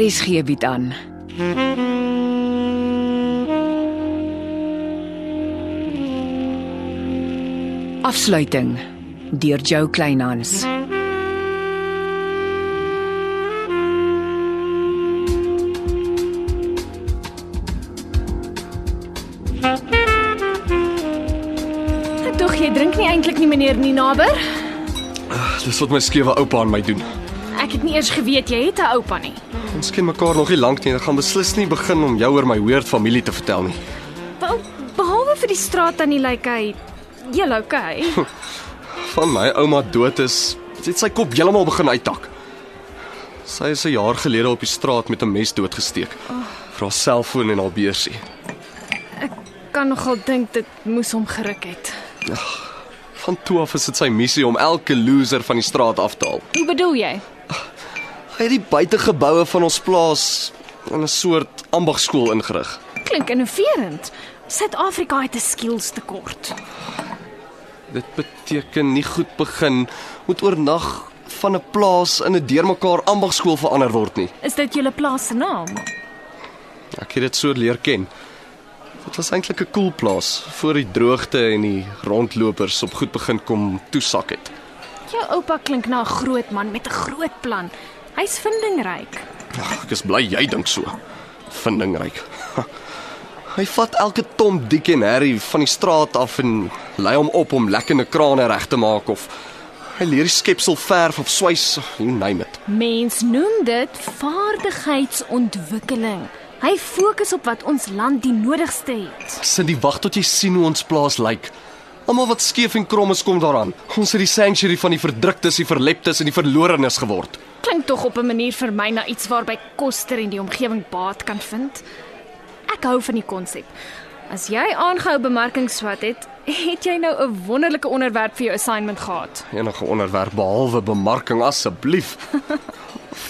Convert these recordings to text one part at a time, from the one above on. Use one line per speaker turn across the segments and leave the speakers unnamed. RSG Er bied aan. Afsluiting deur Jo Kleinhans.
Tog jy drink nie eintlik nie meneer Ninaber?
Dis wat my skewe oupa aan my doen.
Ek het nie eers geweet jy het 'n oupa nie.
Ons ken mekaar nog nie lank nie en ek gaan beslis nie begin om jou oor my weird familie te vertel nie.
Wel, behalwe vir die straat aan die lyk hy heel okay.
Van my ouma dood is, het sy kop heeltemal begin uittak. Sy is 'n jaar gelede op die straat met 'n mes doodgesteek. Vir haar selfoon en haar beursie.
Kan nogal dink dit moes hom geruk het.
Van toe af is dit sy missie om elke loser van die straat af te haal.
Hoe bedoel jy?
Hy het die buitegeboue van ons plaas in 'n soort ambagskool ingerig.
Klink innoverend. Suid-Afrika het 'n skills tekort.
Dit beteken nie goed begin moet oornag van 'n plaas in 'n deurmekaar ambagskool verander word nie.
Is dit julle plaas se naam?
Ek het dit so leer ken. Dit was eintlik 'n koel plaas voor die droogte en die rondlopers op goed begin kom toesak het.
Jou oupa klink na 'n groot man met 'n groot plan. Hy's vindingryk.
Ag, ek is bly jy dink so. Vindingryk. Hy vat elke Tom, Dick en Harry van die straat af en lei hom op om lekkende krane reg te maak of hy leer die skepsel verf of swys, you name it.
Mens noem dit vaardigheidsontwikkeling. Hy fokus op wat ons land die nodigste het.
Sin die wag tot jy sien hoe ons plaas lyk. Almal wat skeef en krom is kom daaraan. Ons het die sanctuary van die verdruktes, die verleptes en die verlorenes geword.
Klink tog op 'n manier vir my na iets waarby koster en die omgewing baat kan vind. Ek hou van die konsep. As jy aangehou bemarking swat het, het jy nou 'n wonderlike onderwerp vir jou assignment gehad.
Enige onderwerp behalwe bemarking asseblief.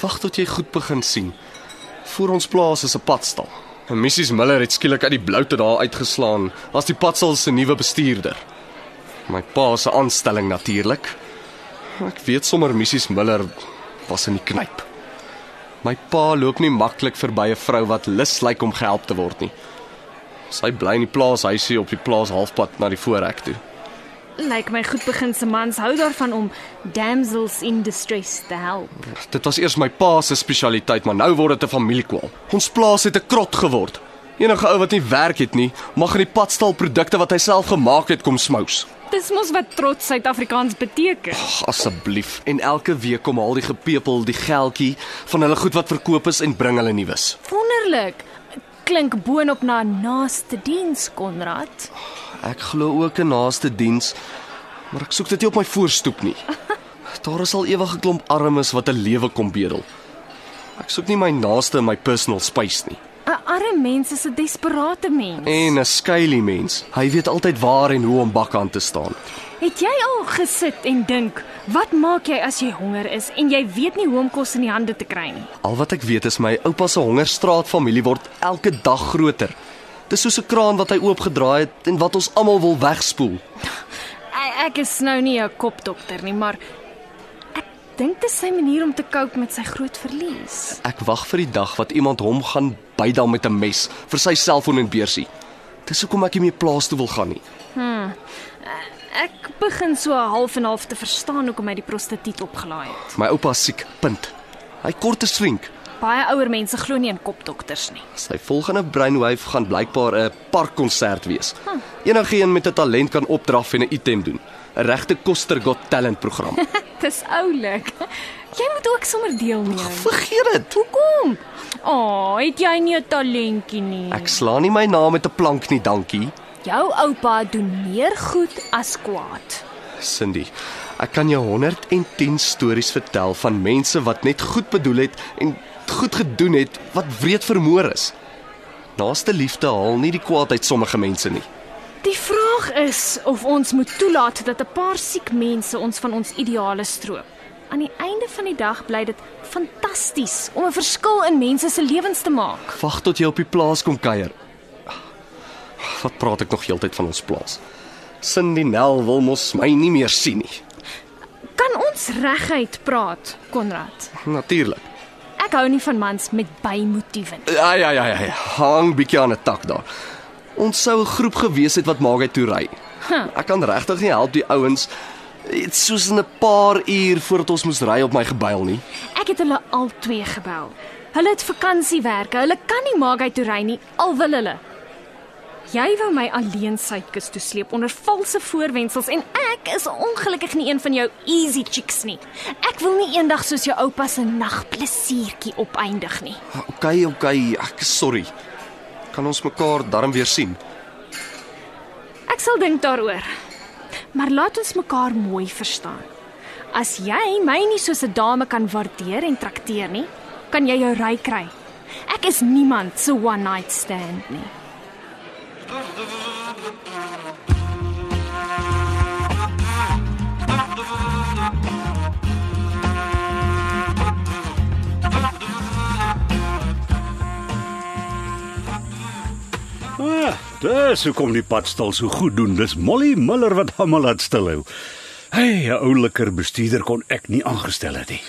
Wag tot jy goed begin sien. Voor ons plaas is 'n padstal. En Mrs Miller het skielik uit die blou te daar uitgeslaan as die padstal se nuwe bestuurder. My pa se aanstelling natuurlik. Ek weet sommer Mrs Miller was in die knyp. My pa loop nie maklik verby 'n vrou wat lus lyk om gehelp te word nie. Sy bly in die plaashuisie op die plaas halfpad na die voorhek toe.
Lyk my goed begin se mans hou daarvan om damsels in distress te help.
Dit was eers my pa se spesialiteit, maar nou word dit 'n familiekwaal. Ons plaas het 'n krot geword. Enige ou wat nie werk het nie, mag in die padstal produkte wat hy self gemaak het kom smous.
Dis mos wat trots Suid-Afrikaans beteken.
Ag, Asseblief. En elke week kom haal die gepepel die geldjie van hulle goed wat verkoop is en bring hulle nuus.
Wonderlik. Klink boonop na naaste diens, Konrad.
Ek glo ook 'n naaste diens, maar ek soek dit nie op my voorstoep nie. Daar is al ewig 'n klomp armes wat 'n lewe kom bedel. Ek soek nie my naaste in my personal space nie.
'n Arme mens is 'n desperate mens.
En 'n skuilie mens. Hy weet altyd waar en hoe om bakkant te staan.
Het jy al gesit en dink, wat maak jy as jy honger is en jy weet nie hoe om kos in die hande te kry nie?
Al wat ek weet is my oupa se hongerstraat familie word elke dag groter. Dis soos 'n kraan wat hy oopgedraai het en wat ons almal wil wegspoel.
E- Ek is nou nie 'n kopdokter nie, maar ek dink dit is sy manier om te cope met sy groot verlies.
Ek wag vir die dag wat iemand hom gaan bydal met 'n mes vir sy selfoon en beursie. Dis hoekom ek nie meer plaas toe wil gaan nie.
Ek begin so half en half te verstaan hoekom hy die prostituut opgelaai het.
My oupa is siek, punt. Hy kort te swink.
Baie ouer mense glo nie in kopdokters nie.
Sy volgende brainwave gaan blykbaar 'n parkkonsert wees. Enigeen met 'n talent kan opdraf en 'n item doen. 'n Regte koster got talent program.
Dis oulik. Jy moet ook sommer deelneem.
Vergeet dit.
Hoekom? O, oh, het jy nie 'n talentjie nie?
Ek slaan nie my naam met 'n plank nie, dankie,
Jou oupa doen meer goed as kwaad.
Cindy. Ek kan jou 110 stories vertel van mense wat net goed bedoel het en goed gedoen het wat wreed vermoor is. Naaste liefde haal nie die kwaad uit sommige mense nie.
Die vraag is of ons moet toelaat dat 'n paar siek mense ons van ons ideale stroop. Aan die einde van die dag bly dit fantasties om 'n verskil in mense se lewens te maak.
Wag tot jy op die plaas kom kuier. Wat praat ek nog heeltyd van ons plaas? Cindy Nel wil mos my nie meer sien nie.
Kan ons reguit praat, Konrad?
Natuurlik.
Ek Ek hou nie van mans met bymotiewe nie.
Ja ja ja ja, ja. hang bietjie aan 'n tak daar. Ons sou 'n groep gewees het wat Maagheid toe ry. Ek kan regtig nie help die ouens dit soos in 'n paar uur voordat ons moes ry op my gebuil nie.
Ek het hulle al twee gebel. Hulle het vakansiewerke. Hulle kan nie maak uit toe ry nie, al wil hulle. Jy wou my alleen suidkus toe sleep onder valse voorwendsels en ek is ongelukkig nie een van jou easy chicks nie. Ek wil nie eendag soos jou oupa se nagplesiertjie opeindig nie.
OK, OK, ek is sorry. Kan ons mekaar darm weer sien?
Ek sal dink daaroor. Maar laat ons mekaar mooi verstaan. As jy my nie soos 'n dame kan waardeer en trakteer nie, kan jy jou ry kry. Ek is niemand se one night stand nie.
Ah, dis hoekom die pad stil so goed doen. Dis Molly Miller wat hom laat stilhou. Hey, 'n ouliker bestuurder kon ek nie aangestel het nie.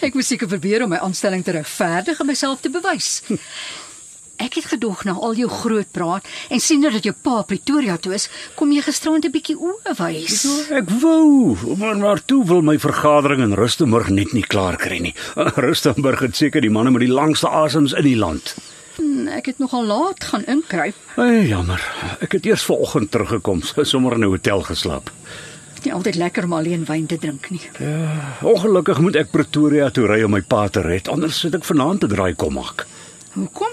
Ek moes seker probeer om my aanstelling te regverdig en myself te bewys. Ek het gedog na al jou groot praat en sien dat jou pa Pretoria toe is, kom jy gisterand 'n bietjie oë wys.
Ek wou, maar maar toe wil my vergadering in Rustenburg net nie klaar kry nie. Rustenburg het seker die manne met die langste asems in die land.
Hmm, Ek het nogal laat gaan inkruip.
Hey, jammer. Ek het eers vanoggend teruggekom, so sommer in 'n hotel geslaap.
Dit is nie altyd lekker om alleen wyn te drink nie.
Ongelukkig moet ek Pretoria toe ry om my pa te red, anders sit ek vanaand te draai kom maak.
Hoekom?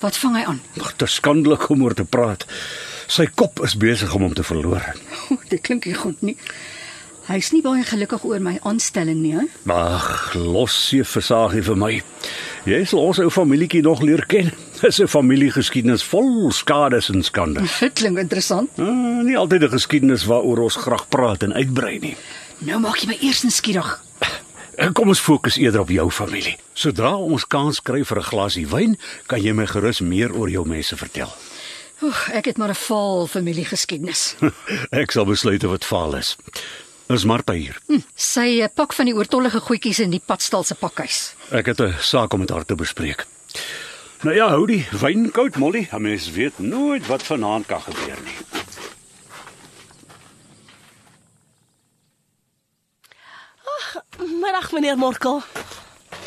Wat vang hy aan?
Ag, te skandelik om oor te praat. Sy kop is besig om hom te verloor.
O, dit klink nie goed nie. Hy's nie baie gelukkig oor my aanstelling nie, hè?
Ag, los se versaagie vir my. Jy sal ons ou familietjie nog leer ken. Dis 'n familiegeskiedenis vol skades en skande.
Dit klink interessant.
Uh, nie altyd 'n geskiedenis waaroor ons graag praat en uitbrei nie.
Nou maak jy my eers nuuskierig.
Eh, Kom ons fokus eerder op jou familie. Sodra ons kans kry vir 'n glasie wyn, kan jy my gerus meer oor jou mense vertel.
Oeg, ek het maar 'n vaal familiegeskiedenis.
Ek sal besluit of dit faal is. Is Martha hier?
Sy eh, pak van die oortollige goedjies in die padstal se pakhuis.
Ek het 'n saak om met haar te bespreek. Nou ja, hou die wyn koud, Molly. 'n Mens weet nooit wat vanaand kan gebeur nie.
Middag meneer Morkel.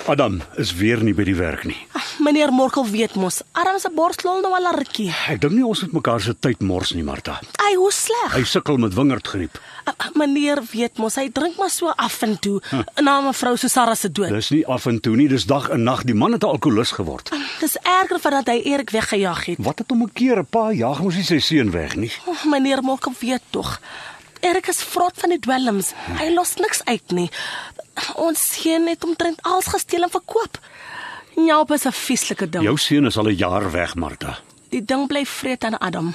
Adam is weer nie by die werk nie.
Meneer Morkel weet mos, arm se borslol nou al rukkie.
Ek dink nie ons moet mekaar se tyd mors nie, Martha.
Ai, hoe sleg.
Hy sukkel met wingerdgriep.
Ah, Meneer weet mos, hy drink maar so af en toe na mevrou Susara se dood.
Hm. Dis nie af en toe nie, dis dag en nag. Die man het 'n alkolikus geword.
Hm, Dis erger van dat hy Erik weggejaag het.
Wat het hom 'n keer 'n pa jaag moes hy sy seun weg nie.
Oh, meneer Morkel weet tog. Erik is vrot van die dwelms.
Hm.
Hy los niks uit nie. Ons seun het omtrent alles gesteel en verkoop. Njalp is 'n vieslike ding.
Jou seun is al 'n jaar weg, Martha.
Die ding bly vreet aan Adam.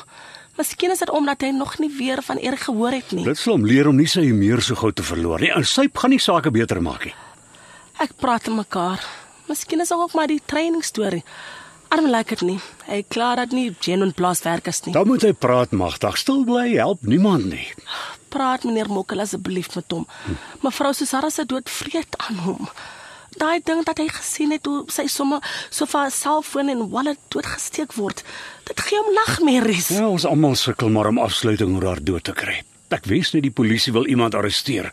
Miskien is dit omdat hy nog nie weer van Erik gehoor het nie.
Dit sal hom leer om nie sy humeur so gou te verloor nie. En syp gaan nie sake beter maak nie.
Ek praat met mekaar. Miskien is dit ook maar die training storie. Arm lyk dit nie. Hy klaar dat nie genuine plaaswerk is nie.
Dan moet hy praat, Magdag. Stil bly help niemand nie.
Praat meneer Mokkel asseblief met hom. Mevrou Susara se dood vreet aan hom. Daai ding dat hy gesien het hoe sy somme so van selfoon en wallet doodgesteek word. Dit gee hom nagmerries.
Ja, ons almal sukkel maar om afsluiting oor haar dood te kry. Ek wens net die polisie wil iemand arresteer.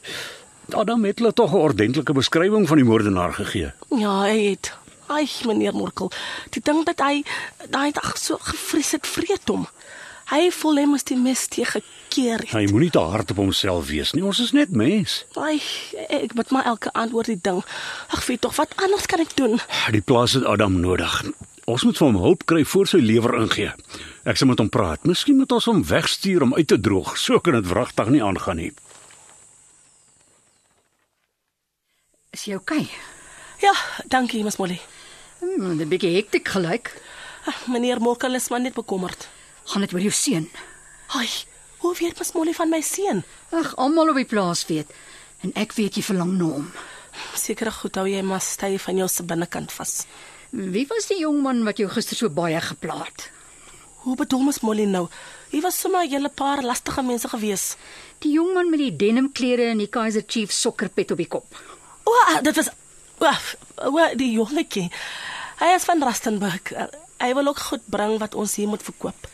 Adam het hulle tog 'n ordentlike beskrywing van die moordenaar gegee.
Ja, hy het. Ai, meneer Mokkel, die ding dat hy daai dag so gevries het vreet hom. Hy voel hy moes die mes teëgekeer het.
Hy moenie te hard op homself wees nie. Ons is net mens.
Ai, ek moet maar elke aand oor die ding. Ag, weet tog, wat anders kan ek doen?
Die plaas het Adam nodig. Ons moet vir hom hulp kry voor sy lewer ingee. Ek sal met hom praat. Miskien moet ons hom wegstuur om uit te droog. So kan dit wragtig nie aangaan nie.
Is jy okay?
Ja, dankie, Ms Molly.
Hmm, 'n bietjie hektiek gelyk.
Ag, Meneer Morkel is maar net bekommerd.
Gaan dit oor jou seun?
Ai, hoe weet Ms Molly van my seun?
Ag, almal op die plaas weet. En ek weet jy verlang na hom.
Sekerig goed hou jy maar styf aan jou se binnekant vas.
Wie was die jong man wat jou gister so baie geplaat?
Hoe bedoel Ms Molly nou? Hier was sommer 'n hele paar lastige mense gewees.
Die jong man met die denim klere en die Kaiser Chiefs sokkerpet op die kop.
O, ah, dit was O, o die jongetjie. Hy is van Rustenburg. Eh, Hy wil ook goed bring wat ons hier moet verkoop.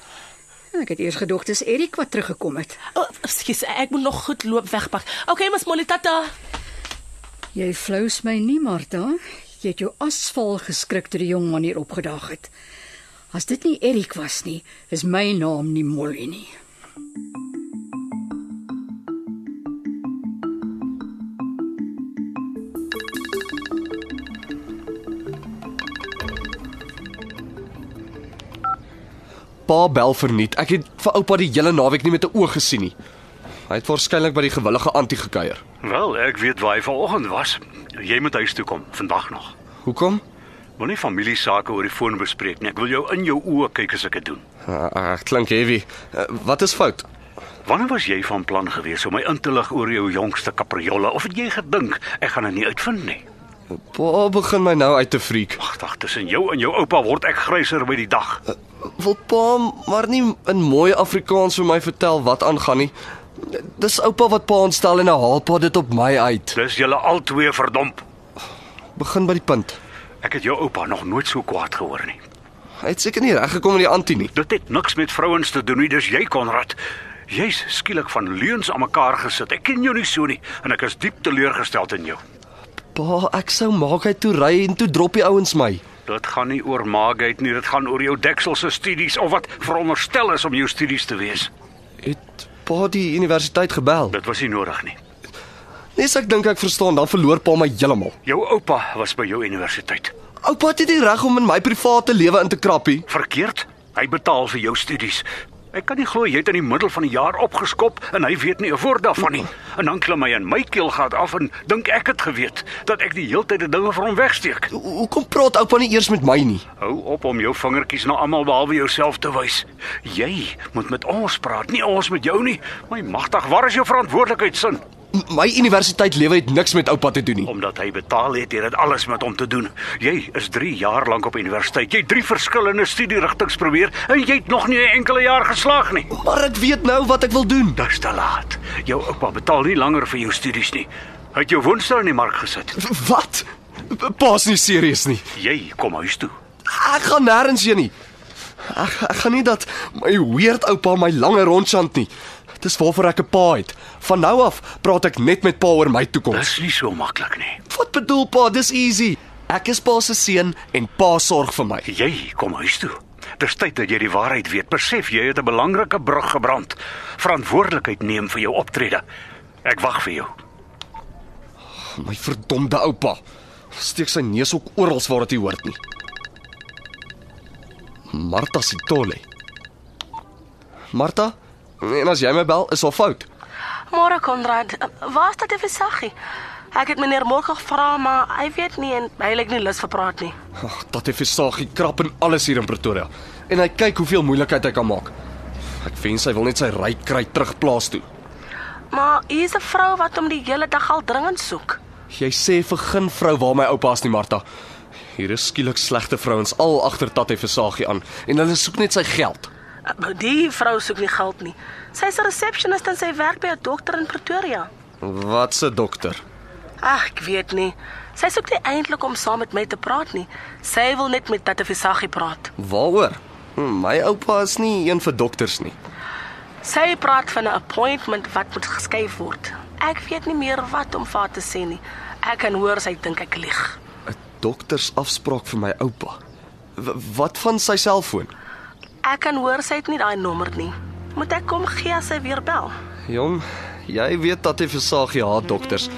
Ek het eers gedog dis Erik wat teruggekom het.
O, ekskuus, ek moet nog goed loop wegpak. Okay, Ms Molly Tata.
Jy flous my nie, Martha. Jy het jou asval geskrik toe die jong man hier opgedaag het. As dit nie Erik was nie, is my naam nie Molly nie.
Pa bel verniet. Ek het vir oupa die hele naweek nie met 'n oog gesien nie. Hy het waarskynlik by die gewillige antie gekuier.
Wel, ek weet waar hy vanoggend was. Jy moet huis toe kom vandag nog.
Hoekom?
Moenie familie sake oor die foon bespreek nie. Ek wil jou in jou oë kyk as ek dit doen.
Uh, uh, klink heavy. Uh, wat is fout?
Wanneer was jy van plan gewees om my in te lig oor jou jongste kapriolle of het jy gedink ek gaan dit nie uitvind nie?
Pa begin my nou uit te freak.
Wagtig, tussen jou en jou oupa word ek gryser by die dag.
Wil pa maar nie in mooi Afrikaans vir my vertel wat aangaan nie. Dis oupa wat pa aanstel en nou haal pa dit op my uit.
Dis julle albei verdomp.
Begin by die punt.
Ek het jou oupa nog nooit so kwaad gehoor nie.
Hy het seker nie reg gekom met die antie nie.
Dit het niks met vrouens te doen nie, dis jy Konrad. Jy's skielik van leuns aan mekaar gesit. Ek ken jou nie so nie en ek is diep teleurgesteld in jou.
Pa, ek sou maak hy toe ry en toe drop die ouens my.
Dit gaan nie oor maagheid nie, dit gaan oor jou deksel se studies of wat veronderstel is om jou studies te wees.
Het pa die universiteit gebel?
Dit was nie nodig nie.
Nes ek dink ek verstaan, dan verloor pa my heeltemal.
Jou oupa was by jou universiteit.
Oupa het nie die reg om in my private lewe in te krappie.
Verkeerd. Hy betaal vir jou studies. Ek kan nie glo jy het in die middel van die jaar opgeskop en hy weet nie 'n woord daarvan nie. En dan klim hy in my keelgat af en dink ek het geweet dat ek die heeltyd die dinge vir hom wegsteek.
Ho- Hoekom praat oupa nie eers met my nie?
Hou op om jou vingertjies na almal behalwe jouself te wys. Jy moet met ons praat, nie ons met jou nie. My magtig, waar is jou verantwoordelikheidsin?
M- My universiteit lewe het niks met oupa te doen nie.
Omdat hy betaal het, het dit alles met hom te doen. Jy is 3 jaar lank op universiteit. Jy het drie verskillende studierigtinge probeer en jy het nog nie 'n enkele jaar geslaag nie.
Maar ek weet nou wat ek wil doen.
Dis te laat. Jou oupa betaal nie langer vir jou studies nie. Hy het jou woonstel in die mark gesit.
W- Wat? P- Pa's nie serieus nie.
Jy kom huis toe.
Ek gaan nêrens heen nie. Ek, ek gaan nie dat my weird oupa my lange rondchant nie. Dis waarvoor ek 'n pa het. Van nou af praat ek net met pa oor my toekoms.
Dis nie so maklik nie.
Wat bedoel pa? Dis easy. Ek is pa se seun en pa sorg vir my.
Jy kom huis toe. Dis tyd dat jy die waarheid weet. Besef jy het 'n belangrike brug gebrand. Verantwoordelikheid neem vir jou optrede. Ek wag vir jou.
My verdomde oupa. Steek sy neus ook oral waar dit nie hoort nie. Martha Sitole. Martha, en as jy my bel, is al fout.
Môre Konrad, waar is dit vir Saggie? Ek het meneer Morgan gevra, maar hy weet nie en hy lyk nie lus vir praat nie.
Ag, dat hy versaagie krap en alles hier in Pretoria. En hy kyk hoeveel moeilikheid hy kan maak. Ek wens hy wil net sy ry kry terugplaas toe.
Maar hier's 'n vrou wat hom die hele dag al dringend soek.
Jy sê vir geen vrou waar my oupa is nie, Martha. Hier is skielik slegte vrouens al agter dat hy versaagie aan en hulle soek net sy geld.
Die vrou soek nie geld nie. Sy's 'n resepsionis en sy werk by 'n dokter in Pretoria.
Wat se dokter?
Ag, ek weet nie. Sy soek nie eintlik om saam met my te praat nie. Sy wil net met Tata Visagie praat.
Waaroor? Hm, My oupa is nie een vir dokters nie.
Sy praat van 'n appointment wat moet geskuif word. Ek weet nie meer wat om vir haar te sê nie. Ek kan hoor sy dink ek lieg.
'n Doktersafspraak vir my oupa. W wat van sy selfoon?
Ek kan hoor sy het nie daai nommer nie. Moet ek kom gee as sy weer bel?
Jong, jy weet dat hy versaagie haat dokters.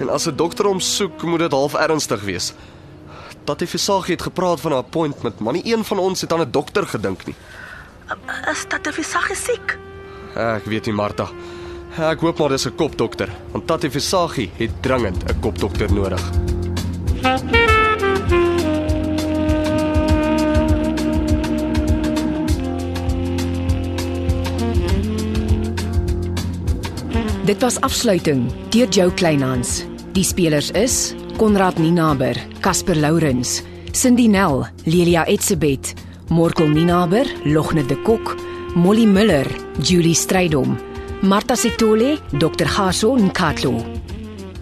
En as 'n dokter hom soek, moet dit half ernstig wees. Dat hy versaagie het gepraat van 'n appointment, maar nie een van ons het aan 'n dokter gedink nie.
Is Tata Visagie siek?
Ek weet nie, Martha. Ek hoop maar dis 'n kopdokter, want Tatie Versaghi het dringend 'n kopdokter nodig.
Dit was afsluiting deur Jo Kleinhans. Die spelers is Konrad Ninaber, Casper Lourens, Cindy Nel, Lelia Etsebet, Morkel Ninaber, Logne de Kok, Molly Miller, Julie Strydom, Martha Sitole, Dr. Gaso Nkatlo.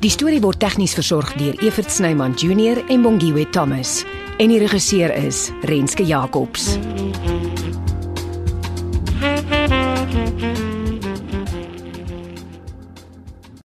Die storie word tegnies versorg deur Evert Snyman Junior en Bongwe Thomas en die regisseur is Renske Jacobs.